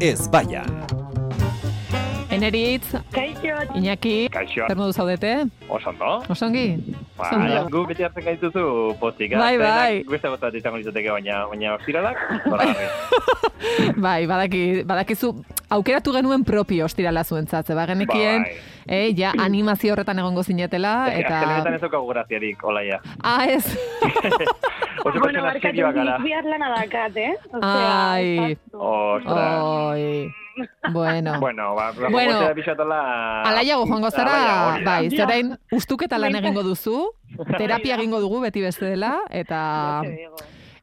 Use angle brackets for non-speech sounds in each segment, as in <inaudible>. ez baian. Eneritz, Kaixo, Iñaki, Kaixo, zer modu zaudete? osondo? Osongi? Ba, Zondo. gu beti hartzen gaituzu pozik. Bai, bai. Beste bat bat izango litzateke, baina, baina ostiralak, zoragarri. Bai, badaki, badakizu, aukeratu genuen propio ostirala zuentzat, ze bagenekien, Bai. eh, ja animazio horretan egongo zinetela, Azkenetan Ah, eta... ez daukagu graziarik, olaia. Ah, ez! Oso Ah, bueno, pertsona barkatu, serioa gara. nik bihar lana dakat, eh? Ai. Oh. Ostras. Oi, bueno. Bueno, ba, ba, Oh, Bueno. bueno, bizatola... Alaiago joango Alaia, zara, hori da. bai, Ja. zerain ustuketa lan Behintzat. egingo duzu, terapia egingo dugu beti beste dela, eta... Bai.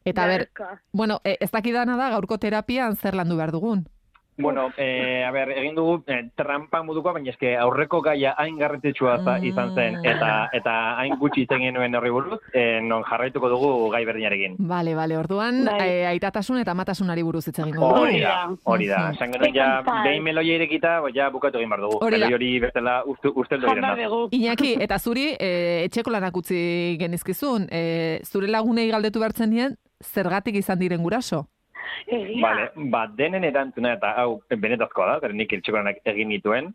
Eta ber, bueno, e, ez dakidana da gaurko terapian zer landu behar dugun. Bueno, eh, a ber, egin dugu eh, trampa modukoa, baina eske aurreko gaia hain garrantzitsua za- izan zen Mm. eta eta hain gutxi itzen genuen horri buruz, eh, non jarraituko dugu gai berdinarekin. Bale, bale, orduan Bai. e, aitatasun eta amatasunari buruz hitz egingo dugu. Hori da, hori da. Mhm. Esan genuen ja, Bai. behin meloia irekita, ba, ja bukatu egin behar dugu. Hori da. Meloi hori bestela ustu, usteldu egin Janda da. begu. Iñaki, eta zuri e, etxeko lanak utzi genizkizun, e, zure lagunei galdetu behartzen dien, zergatik izan diren guraso. Egia. Vale, ba, denen erantzuna eta hau benetazkoa da, zeren nik iltsiko lanak egin nituen.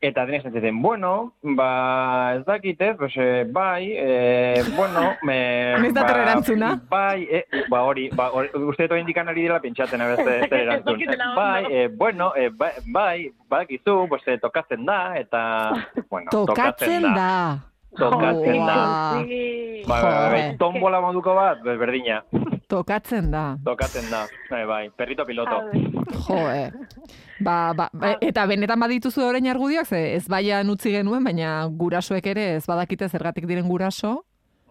Eta denek esan zuten, bueno, ba, ez dakit ez, pues, eh, bai, eh, bueno, <laughs> me, ba, Noiz dator erantzuna? Bai, eh, ba, hori, ba, hori, uste dut oraindik ari direla pentsatzen, <laughs> a zer Ez erantzun. dakitela ondo. bai, eh, bueno, eh, bai, bai, badakizu, pues, eh, tokatzen da, <laughs> eta, bueno, Tokatzen da. Tokatzen da. Joa. Oh, Sí. Bai, bai, bai, Joder. bai, tombola moduko bat, berdina, Tokatzen da. tokatzen da, bai, bai, perrito A piloto. ver. Jo, eh. Ba, ba, e- eta benetan badituzu orain argudioak, ze ez baian utzi genuen, baina gurasoek ere ez badakite zergatik diren guraso.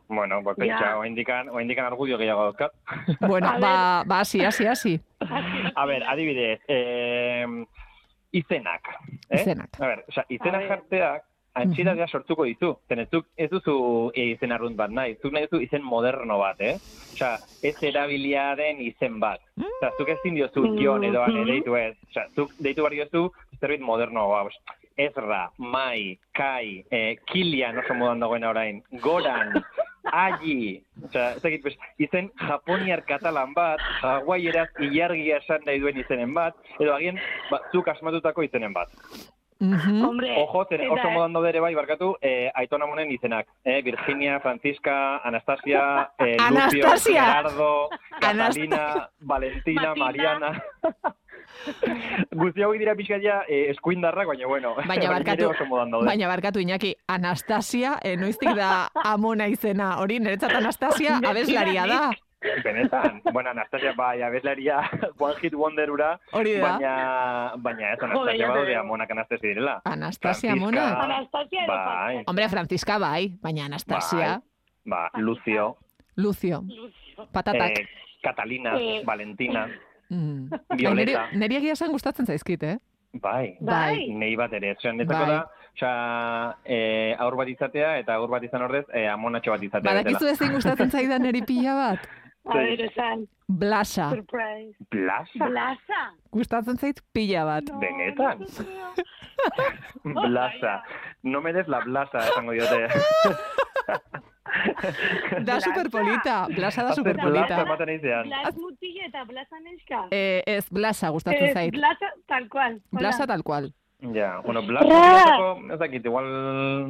Bueno, pues Ya. pentsa, oindikan, oindikan argudio gehiago dauzkat. Bueno, A ba, ba, hasi, hasi, hasi. A ber, adibidez, eh, izenak. Eh? Izenak. A ber, oza, A izenak ber. jartzeak antxitatea sortuko dizu. Zenez, zuk ez duzu eh, izen arrunt bat nahi, zuk nahi duzu izen moderno bat, eh? Osa, ez erabilia den izen bat. Osa, zuk ezin diozu jon edo ane Mhm. deitu ez. Osa, zuk deitu barri diozu zerbait moderno bat. Ezra, Mai, Kai, eh, Kilian oso modan dagoen orain, Goran, Agi, oza, ez dakit, pues, izen japoniar katalan bat, hawaiieraz ilargia esan nahi duen izenen bat, edo agian, ba, zuk asmatutako izenen bat. Mhm. Hombre, Ojo, zen, eta- oso modan daude ere bai barkatu, eh, aitona monen izenak. Eh, Virginia, Francisca, Anastasia, Anastasia! eh, Lucio, <laughs> Gerardo, Anast- Catalina, Valentina, Matilda. Mariana... <laughs> Guzti hauek dira pixka ja eh, eskuindarrak, <laughs> baina bueno. Baina horiek ere barkatu, Oso modan daude. baina barkatu Iñaki, Anastasia, eh, noiztik da amona izena, hori niretzat Anastasia abeslaria da, Benetan, bueno, Anastasia bai, abeslaria, <laughs> one hit wonderura, hori da. baina, baina ez Joder, Anastasia ya te badaude digo. amonak Anastasia direla. Anastasia Francisca, amona. Anastasia edo Bai, Hombre, Francisca bai, baina Anastasia, ba, Lucio, Lucio, Lucio. patatak. eh, Catalina, Eh. Valentina, Mm. Violeta. Baina niri- Niri egia esan gustatzen zaizkit, eh? bai, Bai. nei bat ere. Osea, netako Bai. da, osea, eh, aur bat izatea eta aur bat izan ordez, eh, amonatxo bat izatea. Badakizu bezala. ezin gustatzen zaidan niri pila bat? A ver, esan, Blasa, surprise. <laughs> Plaza? <laughs> Plaza. gustatzen zait pila bat. No, Benetan. no creo. Plaza. No me des la plaza, esango <laughs> diote. Da Blasa. superpolita, blasa da Azte plaza superpolita. ematen eizean. Blas mutilla eta plaza neska. Eh, ez, blasa gustatzen Eh, zait. Plaza, tal cual. Hola. Blasa tal cual. Ja, bueno, Blas, Bra! Blasako, ez dakit, igual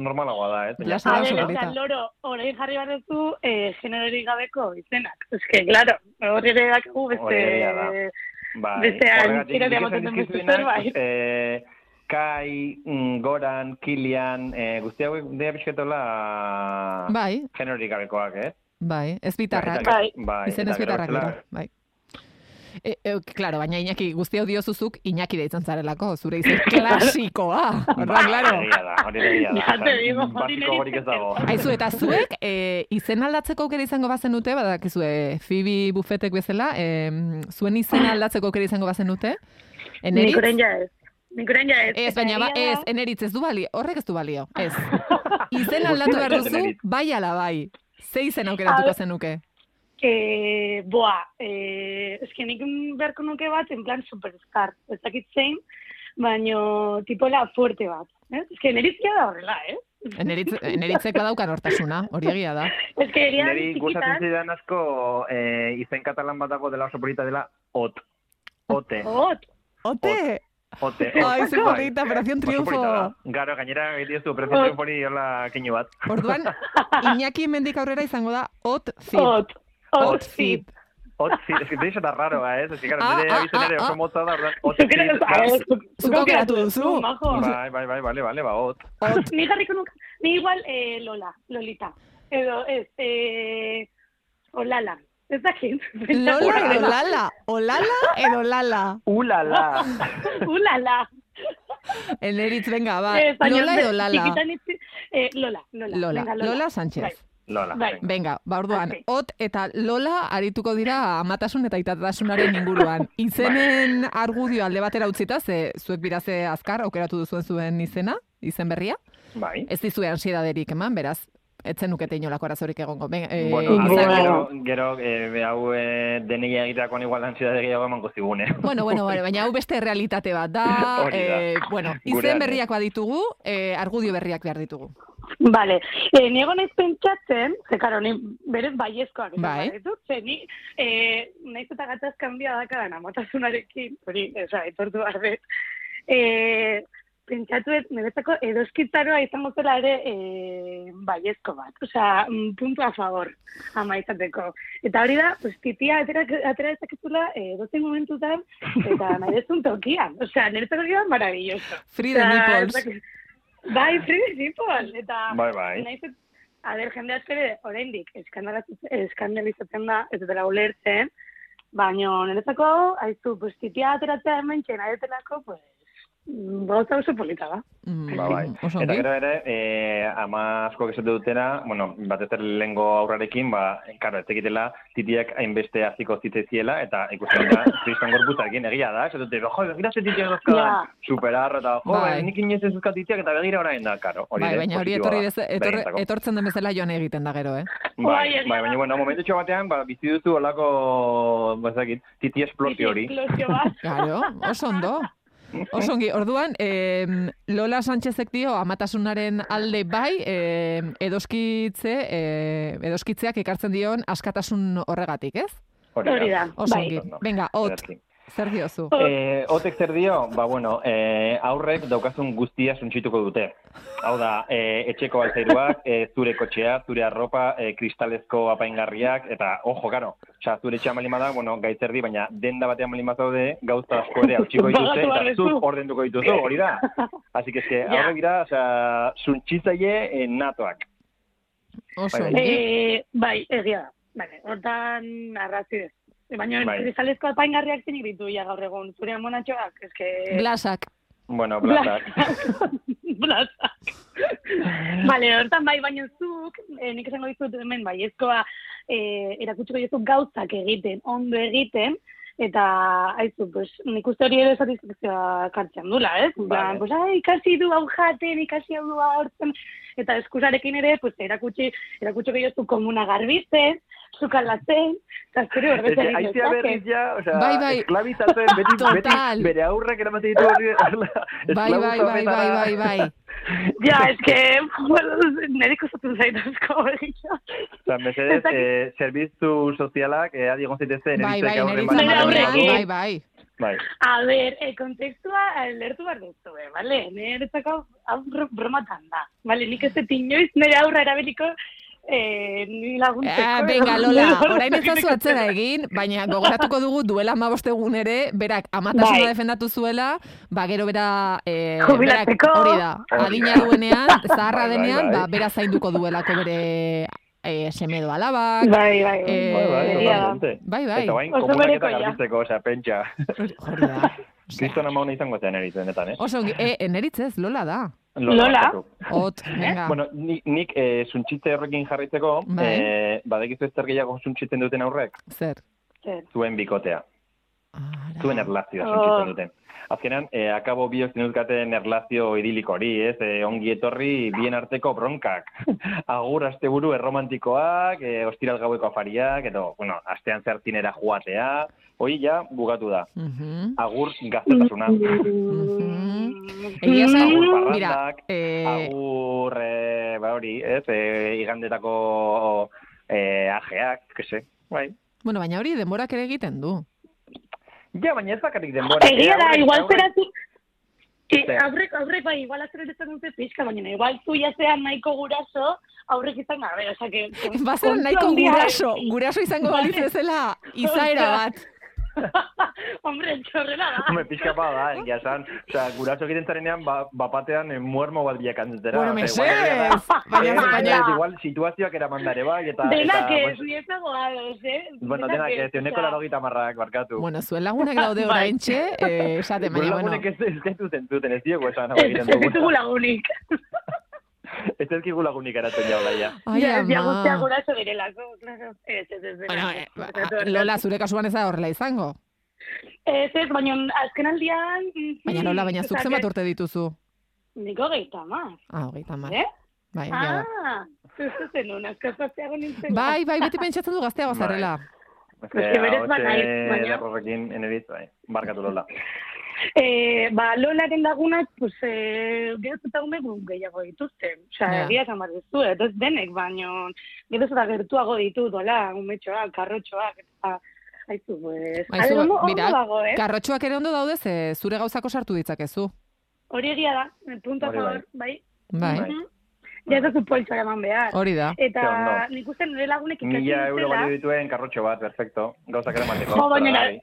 normalagoa da, eh, ez? Blas- A Oso ver, polita. eta loro, orain jarri behar duzu, eh, generorik gabeko izenak. Eske, claro, hor ere dakagu beste... Hori egia da. Bai, Beste hain horregatik tira nik ematen esan den beste dizkizuenak, zerbait. eh, Kai, mm, Goran, Kilian, eh, guzti hauek dira pixketola Ah. Bai, generorik gabekoak, eh? bai, ez bitarrak. Eta- Bai. bai, Izen eta ez betarrak gero dira, bestela- bai. E, e, claro, baina Iñaki, guzti hau diozuzuk Iñaki deitzen zarelako, zure izen klasikoa. Orduan, Bai, claro. hori egia da, hori egia da. Ja te Osea, digo, basiko hori niri gorik ez dago. Aizu, eta zuek e, izen aldatzeko aukera izango bazen dute, badakizu, e, Phoebe bufetek bezala, e, zuen izen aldatzeko aukera izango bazen dute, Nik eneritz, orain ja ez. Nik orain ja ez. ez, baina ba, Egia ez, da- eneritz ez du balio, horrek ez du balio, ez. Izen aldatu behar duzu, Eneritz. bai ala bai, ze izen aukeratuko zenuke. Eh, boa, eh, eske nik beharko nuke bat, en plan superstar, ez dakit zein, baino tipo la fuerte bat. Eh? Eske nerizkia da horrela, eh? Eneritz, eneritzek badaukan hortasuna, hori egia da. Eske egia Neri gustatzen txikitan, zidan Oh. asko eh, izen katalan bat dago dela oso polita dela ot. Ote. hot, Ote! Ote. Pues Ai, ze Bai. polita, Operación Oso Triunfo. Oh. polita da. Garo, gainera, egiten du, Operación Ot. Triunfori hola keinu bat. Orduan, Iñaki mendik aurrera izango da ot zip. Ot, ot, zip. zip. Ot, sí, es que de hecho da raro, eh? Es que, claro, Ah, nire ah, abizen ere ah, oso ah. motza da, ordan, ot, Zuk ere, zip, a bai. ver, zuk- Zuk zuk aukeratu aukeratu duzu. duzu, majo. Bai, bai, bai, bale, bale, ba, ot. <laughs> Ot, Ni jarriko nuke, ni igual eh, Lola, Lolita. Edo, ez, eh, Olala. Ez <laughs> dakit. Lola edo lala. Olala edo lala. <laughs> Ulala! Ulala. Eneritz, venga, ba. Eh, baina Ah, Lola edo lala. txikitan itzi- eh, Lola, Lola. Lola, Venga, Lola Sánchez. Lola. Bai. venga. Venga, ba orduan, Arte. ot eta lola arituko dira amatasun eta itatasunaren inguruan. Izenen argudio alde batera utzita, ze zuek biraze azkar aukeratu duzuen zuen izena, izen berria. Bai. Ez dizue ansiedaderik eman, beraz, etzen nukete inolako arazorik egongo. Venga, eh, Bueno, a izan- ver, Bueno. gero, gero, eh, behau eh, deneia egiteakoan igual ansiedade gehiago emango zigune. Bueno, bueno, bueno, baina hau beste realitate bat da. <laughs> Hori da. eh, bueno, Gurean, izen eh. berriak baditugu, eh, argudio berriak behar ditugu. Vale, e, niego naiz pentsatzen, ze karo, ni berez baiezkoak izan Bai. behar ditut, ze ni e, naiz eta gatazkanbia dakaran amatasunarekin, hori, oza, etortu behar dut, e, pentsatu ez, niretzako edoskitzaroa izango zela ere e, baiezko bat, osea, mm, puntu a favor ama izateko. Eta hori da, pues, titia atera, atera dezakezula e, dozen momentutan, eta nahi dezun tokian, osea, niretzako gira maravilloso. Frida Eta, Nichols. Ba, ez dakit- Bai, Frida Nichols, eta... Bai, bai. Naiz et- a ber, jende asko ere, oraindik eskandalatzen- eskandalizatzen da, ez dela ulertzen, baino niretzako, aizu, pues, titia ateratzea hemen txena detelako, pues, Bauza oso polita da. Mm, Ba, bai. <laughs> Oso Eta ongi. gero ere, eh, ama asko esate dutena, bueno, batez ere lehengo aurrarekin, ba, karo, ez tekitela titiak hainbeste aziko zitzaizkiela, eta ikusten <laughs> da, kriston gorputzarekin egia da, esate dute, jo, begira ze titiak Ja. dazkadan, superar, eta jo, Bai. bai. nik inoiz ez duzkat titiak, eta begira orain da, karo. Hori Bai, ere baina hori positiboa etorri da, dez, etorre, berentzako. etortzen den bezala joan egiten da gero, eh? Bai, Bai, egia bai, da. baina, bueno, momentu batean, ba, bizi duzu ba, olako, bazakit, titi esplosio hori. Explosio bat. Claro, oso ondo. Oso ongi, orduan, em, Lola Sánchezek dio amatasunaren alde bai, em, edoskitze, eh, edoskitzeak ekartzen dion askatasun horregatik, ez? Hori da. Oso Bai. ongi. Ondo. Venga, ot, Ederki. zer diozu? Eh, otek zer dio? Ba, bueno, eh, aurrek daukazun guztia suntsituko dute. Hau da, eh, etxeko altzairuak, eh, zure kotxea, zure arropa, eh, kristalezko apaingarriak, eta, ojo, karo, oza, zure etxea malima da, bueno, gaitzerdi, baina denda batean malima zaude, gauza asko ere <laughs> hautsiko dituzte, Pagatu eta behar duzu. zuk ordenduko dituzu, hori da. Así que, <laughs> eske, Ja. aurrek dira, oza, suntsitzaile eh, natoak. Oso <laughs> bai, ongi. Eh, bai, egia da. Vale, hortan arrazi ez. Baina, Bai. kristalezko apaingarriak zenik ditu ja gaur egun. Zure amonatxoak, eske... Blasak. Bueno, Blazak. blatak. Blazak. Vale, hortan bai, baino zuk, eh, nik esango dizut hemen bai, ezkoa eh, erakutsiko dizu gauzak egiten, ondo egiten, eta aizu, pues, nik uste hori ere satisfakzioa kartzen dula, ez? Vale. Plan, pues, ai, ikasi du hau jaten, ikasi hau du hortzen, eta eskusarekin ere, pues, erakutsi, erakutsiko diozu komuna garbitzen, zukaldatzen, eta zure Eske, horretzen Aizea berriz ja, osea, Bai, bai. esklabizatzen, beti, Total. beti bere aurrak eramaten ditu hori, horrela, Bai, bai, esklabuza bai, bai, honetara. bai, <laughs> bai. Ja, eske, <laughs> nire kusatzen zait asko <laughs> egia. Osa, mesedez, Ez dakit. eh, serviztu sozialak, eh, adi egon zaitezte, Bai, neritzek bai, aurren neritza bat Nire ematen aurrekin. malean, badu. bai, bai. Bai, A ber, e, kontekstua lertu behar duzu, eh, bale? Niretzako hau bro- bromatan da. Bale, nik ez dut inoiz nire aurra erabiliko eh, ni laguntzeko. Ah, <laughs> venga, Lola, orain ez zazu atzera egin, baina gogoratuko dugu duela amabost egun ere, berak amatasuna Bai. defendatu zuela, ba gero bera, eh, berak Jubilatzeko. hori da, Hori da. adina <laughs> duenean, zaharra Bai, bai, denean, bai. ba, bera zainduko duelako bere eh, semedo alabak, Bai, bai, Eh, bai, bai, egia da. totalmente. Bai, bai. Eta bain, Oso komunaketa berekoia. garbitzeko, osea, pentsa. hori da. Osea, Kriston ama hona izango zen eritzenetan, eh? Oso, ongi. e, eneritz ez, Lola da. Lola. batzuk. <laughs> Ot, venga. Eh? Bueno, nik, nik eh, suntsitze horrekin jarritzeko, Bai. eh, badekizu zer gehiago suntsitzen duten aurrek, Zer? Zer. zuen bikotea. Ara. zuen erlazioa Oh. sentitzen duten. Azkenan, eh, akabo biok zinuzkaten erlazio idiliko hori, ez? Eh, ongi etorri bien arteko <laughs> bronkak. Agur asteburu erromantikoak, eh, ostiral gaueko afariak, edo, bueno, astean zer zinera joatea, hoi ja bugatu da. Mhm. Agur gaztetasuna. Mm-hmm. Mhm. Egia Mm. esan, Agur parrandak, mira, eh, Agur, eh, ba hori, ez? Eh, igandetako eh, ajeak, kese, bai. bueno, baina hori denborak ere egiten du. Ja, baina ez bakarrik denbora. eh? Egia da, Aurre- igual aurre- zera zu... E, Zer? aurrek, aurrek, bai, igual azeren ez dute pixka, baina igual zu jazean nahiko guraso, aurrek izan gabe, oza, que... <laughs> Bazen nahiko kontu handia- eh. guraso, guraso izango Bai. balitz bezala izaera bat. Hombre, txorrela da. Hombre, pixka bat da, egia esan. Osea, guraso egiten zarenean, ba, bapatean eh, muermo bat biakatzen zera. Bueno, Osea, mesedez! igual egia da- Baina, Eh, baina, ez, Igual, situazioak eramandare bai, eta... Denak eta, ez, ni ez dago ados, eh? Bueno, denak ez, euneko <laughs> laro marrak, barkatu. Bueno, zuen lagunak daude Bai. orain txe, esate, Gure baina, lagunek bueno. ez ez dut entzuten, ez diogu esan hau Ez egiten ez ditugu dugu. lagunik. Ez ez kigu lagunik eratzen jau laia. Ai, Ja, ja guztia ama. guraso direlako. <laughs> claro. Ez, ez, ez. Bueno, eh, denak ez. ba, Lola, zure kasuan ez da horrela izango. Ez, ez, baina azken aldian... mhm, Baina Lola, baina zuk osea, zenbat que- urte dituzu? Niko gehieta, ma. Ah, hogeita hamar. Eh? Bai, ja da. Ah, zuztu zenun, azkazazteago nintzen. Bai, bai, beti pentsatzen du gazteago Bai. zarela. Eske berez bat naiz, baina- Derrorekin eneritz, bai. Barkatu lola. Eh, ba, Lolaren lagunak, pues, eh, geroz eta ume gu gehiago dituzte. Osea, Ja. egia esan behar dizu, ez denek, baino, geroz eta gertuago ditu, dola, umetxoak, karrotxoak, eta, haizu, pues, Haizu, ale, ondo, mira, ondo dago, eh? Karrotxoak ere ondo daude, ze zure gauzako sartu ditzakezu. Hori egia da, punta Hori bai. favor, bai. Eh, Bai, Bai. Mhm. Ja ez da zu poltsora eman behar. hori da. Ze Eta ondo. nik uste nire lagunek ikatzen Mila euro dutela- balio dituen karrotxo bat, perfecto. Gauzak eramateko. Jo, baina, zoragarri.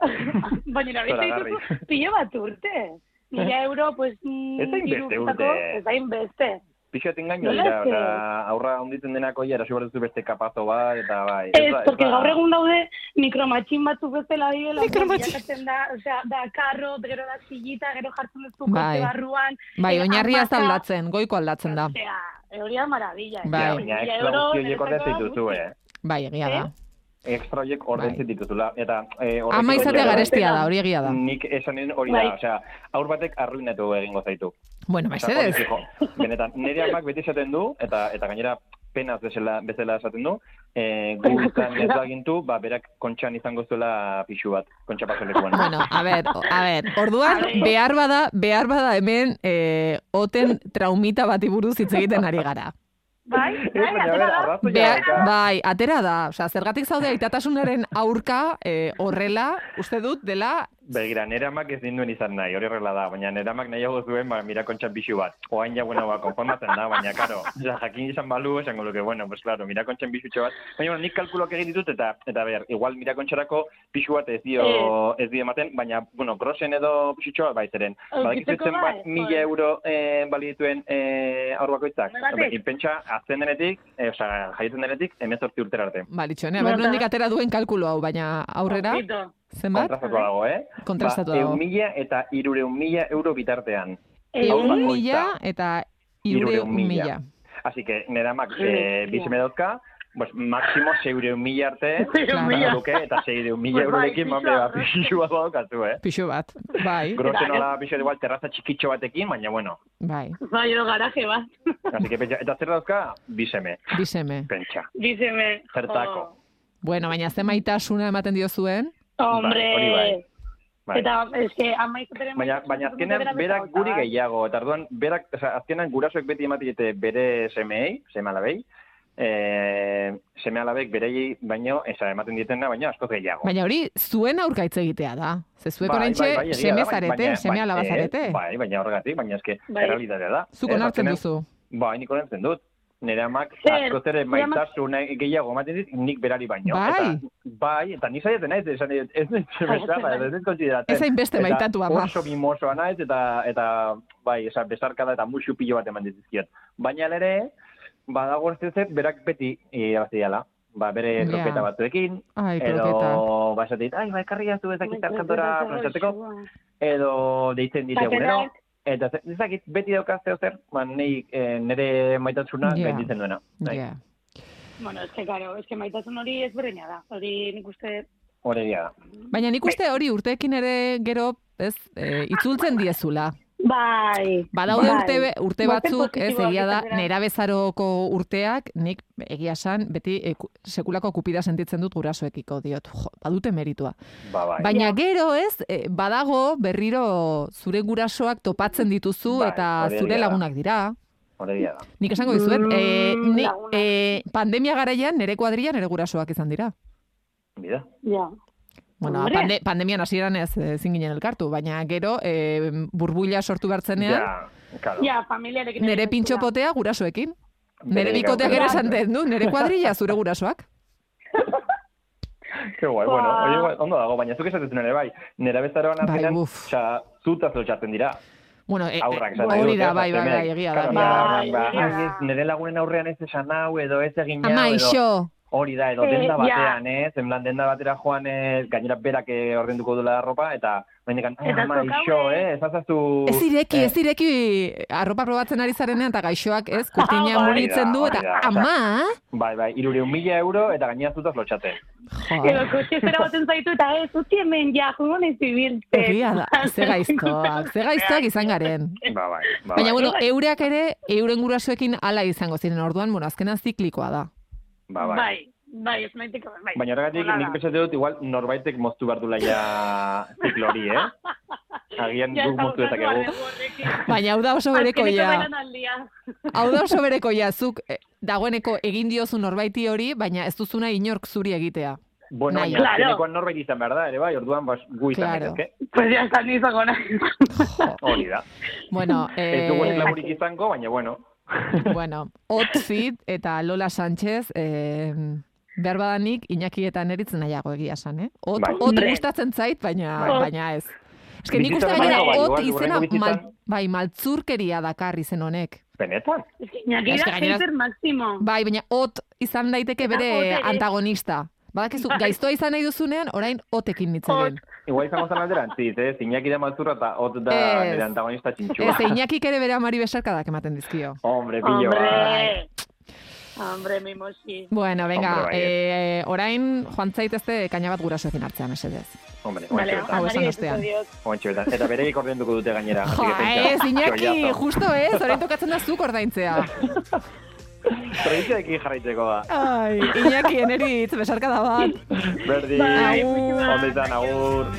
baina, baina, Zoragarri. baina, pilo bat urte. Mila euro, pues... mm, Ez da hainbeste hiru urtako, urte. Ez da inbeste. Pixat engaino Nola dira, ez? eta aurra onditzen denako ja, erasi behar duzu beste kapazo bat, eta bai. Ez, da- porque da- gaur egun daude mikromatxin batzuk bezala direla. Mikromatxin. bilakatzen Da, osea, da karro, gero da sillita, gero jartzen duzu Bai. bai. barruan. Bai, eh, oinarria ez da hamaka. aldatzen, goiko aldatzen da. Osea, hori da maravilla. eh. Ja, Bai. baina Mila extra euro, guzti horiek niretzako ordentzen dituzu, guzti. eh? Bai, egia da. Extra horiek ordentzen dituzula, eta... Eh, horrekin Bai. Ama izatea lotura- garestia da, hori egia da. Nik esanen hori Bai. da, osea, aur batek arruinatu egingo zaitu. Bueno, Osea, hori mesedez. fijo. Benetan, nire amak beti esaten du, eta eta gainera penaz bezala, bezala esaten du, eh, gu izan ez bagintu, ba, berak kontxan izango zuela pixu bat, kontxa pasolekuan. Bueno, a ber, o- a ber, orduan, A ber. behar bada, behar bada hemen eh, oten traumita bati buruz hitz egiten ari gara. Bai, Ez, bai, Eh, baina, atera bera, da. arrazoia Behar, dauka. bai, atera da, osea, zergatik zaude aitatasunaren aurka eh, horrela, uste dut, dela, Begira, nire amak ez ninduen izan nahi, hori horrela da, baina nire amak nahiago zuen, ba, mira kontxan pixu bat. Oain ja, bueno, ba, konformatzen da, baina, karo, ja, jakin izan balu, esango luke, bueno, pues, claro, mira kontxan pixutxo bat. Baina, bueno, nik kalkuloak egin ditut, eta, eta ber, igual mira kontxarako pixu bat ez dio, Eh. ez dio ematen, baina, bueno, grosen edo pixutxo bat bai baiteren. Badakizu Aurkitzeko bai, bat, mila bai. euro eh, balio dituen eh, aur bakoitzak. Batek. Hombre, Ipentsa, azten denetik, eh, osea, jaietzen denetik, emezortzi urtera arte. balitxone, ba, a ber, Nota. nondik atera duen kalkulo hau, baina aurrera, Poquito. zenbat, Kontrastatua dago, eh? kontrastatu ba, dago. eun mila eta irureun mila euro bitartean. Eh, Eun Hau bakoitza. mila eta irureun Hirureun mila. mila. Así que nera mak Sí, eh, sí. bizime dauzka, pues máximo seireun mila arte, <laughs> Seiehun izango mila. luke, eta seireun mila Pues bai, eurorekin, mami, pixua, ba, <laughs> pixua daukatu, eh? Pixu bat, bai, Grosen Bai. hola pixo igual terraza txikitxo batekin, baina bueno. bai, Bai, edo garaje bat. Así que, pentsa- eta zer dauzka, bizeme, biseme. pentsa. Dizeme. jo. Zertako. Bueno, baina ze maitasuna ematen diozuen, Bai, hori bai. Hombre. Bai. Eta, eske, amaizateren... Baina, baina azkenean berak guri gehiago, eta arduan, berak, oza, azkenean gurasoek beti ematikete bere semei, seme alabei, eh, seme alabek berei baino, eza, ematen dietena, baina askoz gehiago. baina hori zuen aurka hitz egitea da. Ze zuek oraintxe Bai, egia da, seme baina- zarete, baina- seme baina- alaba ez, zarete. Bai, baina horregatik, baina eske Bai. errealitatea da. Zuk Ez, onartzen azkenean- duzu. Bai, nik onartzen dut. Nire amak Zer, askoz ere nire amak- maitasuna gehiago ematen dit, nik berari baino. Bai. Eta, bai, eta ni saiatzen naiz, esan dit, ez naiz bezala, ez naiz kontsideratzen. Ez hainbeste Eta maitatu ama. Oso mimosoa naiz, eta, eta bai, esa, besarkada eta musu pilo bat eman ditizkiot. Baina hala ere, badago ez dezet, berak beti irabazi dela. Ba, bere Ja. kroketa batzuekin, Ai, kroketa. edo, ba, esatit, ai, ba, ekarri jaztu Bai, ezakit arkandora prestatzeko, edo deitzen dite egunero. Baterak. Eta ze- ez dakit, beti daukazte zer, ba, nei, eh, nire maitasuna Ja. yeah. gainditzen duena. Bai, Ja. Bueno, es que, claro, es que maitasun hori ezberdina da. Hori nik uste... Hori egia da. Baina nik uste hori urteekin ere gero, ez, eh, itzultzen diezula. Bai. Badaude bai. urte, be- urte Goazen batzuk, ez, positiboak egia da, izatera. nera bezaroko urteak, nik egia san, beti eh, ku- sekulako kupida sentitzen dut gurasoekiko diot. Jo, badute meritua. Ba, bai. Baina gero ez, eh, badago berriro zure gurasoak topatzen dituzu Bai, eta hori zure egia da. lagunak dira. Hori egia da. Nik esango dizuet, eh, Mm, ni, lagunak. eh, pandemia garaian nere kuadrian nere gurasoak izan dira. Bida. Ja. Bueno, Hombre. pande, pandemian hasieran ez eh, ezin ginen elkartu, baina gero e, burbuila sortu bertzenean, Ja, Bai. claro. Ja, familiarekin. nere egiten pintxo duzula. potea gurasoekin. Nere Bere bikoteak gaur- ere esan dut, nu, nere kuadrilla zure gurasoak. Ke guai, bueno, oie, guai, ondo dago, baina zuk esatetzen ere bai, nera bezaroan Bai, azkenan, uf. txa, zutaz lotxatzen dira. Bueno, e, e, Aurrak esaten hori dute, da, bai, bai, semeak. bai, egia da. Claro, Bai. Bai, ba, egia da. ai, ez, nire lagunen aurrean ez esan hau, edo ez egin hau, Ama, edo iso. hori da, edo Eh, denda ja. batean, ez, en plan denda batera joan, ez, gainera berak eh, ordainduko duela ropa, eta mendikan, Eta ama, zuk hau, iso, eh. eh, ez azazu... Ez ireki, eh, ez ireki arropa probatzen ari zarenean eta gaixoak, ez, kurtina Hori da, muritzen du, <laughs> hori eta da. ama, Bai, bai, irureun mila euro, eta gainera zutaz lotxaten. jo, Edo <laughs> kotxezera baten zaitu eta ez, utzi hemen ja, jungo nahiz ibiltzen. egia da, ze gaiztoak, ze gaiztoak izan garen. Ba, bai, ba, Baina, bai, bueno, eureak ere, euren gurasoekin ala izango ziren, orduan, bueno, azkenan ziklikoa da. ba, bai. Bai, bai, ez maiteko, bai. Baina horregatik Hola da. nik pentsatu dut igual norbaitek moztu behar duela ja ziklo hori, eh? Agian Ja, guk eta moztu bukatu dezakegu. <laughs> arrego horrekin. Baina, hau da oso berekoia, Azkeneko belaunaldia. hau da oso berekoia, zuk eh, dagoeneko egin diozu norbaiti hori, baina ez duzuna inork zuri egitea. Bueno, Nahi. baina Claro. azkenekoan norbait izan behar da, ere bai, orduan bas, gu izan Claro. daitezke. Pues ya está, ni izango nahi. Hori da. <laughs> Bueno, Ez <laughs> dugu eh, eslamurik izango, baina bueno. bueno, Otzit eta Lola Sánchez, eh, behar badanik Iñaki eta neritzen nahiago egia san, eh? Ot, Bai. ot Hombre. gustatzen zait, baina, Bai. baina ez. Ez que nik uste Bizitzan gainera, baino, bai, ot igual, izena, hurrengo mal, bizitzan. bai, maltzurkeria dakar izen honek. Benetan. Iñaki Ez que da gainera- hater máximo. Bai, baina hot izan daiteke Eta bere hot ere. antagonista. Badakizu, Bai. gaiztoa izan nahi duzunean, orain hotekin nitzaren. Igual izango zen <laughs> alderantziz, eh? Zinaki da maltzurra eta hot da Ez. nire antagonista txintxua. Ez, Iñakik ere bere amari besarkadak ematen dizkio. Hombre, pillo, bai. Hombre, hombre, mi mochi. Bueno, venga, Hombre, bai, eh, orain joan zaitezte kaina bat gurasoekin hartzea, mesedez. Hombre, Vale, oantxe hau esan María, ostean. diot. betan. Eta bereik ordenduko dute gainera. así Jo, que ez, pentsa, Iñaki, chollazo. justo ez, orain tokatzen da zuk ordaintzea. Tradizioekin jarraiteko da. Ai, Iñaki, eneri hitz besarkada bat. Berdin, Bai, Agur. ondo izan, agur.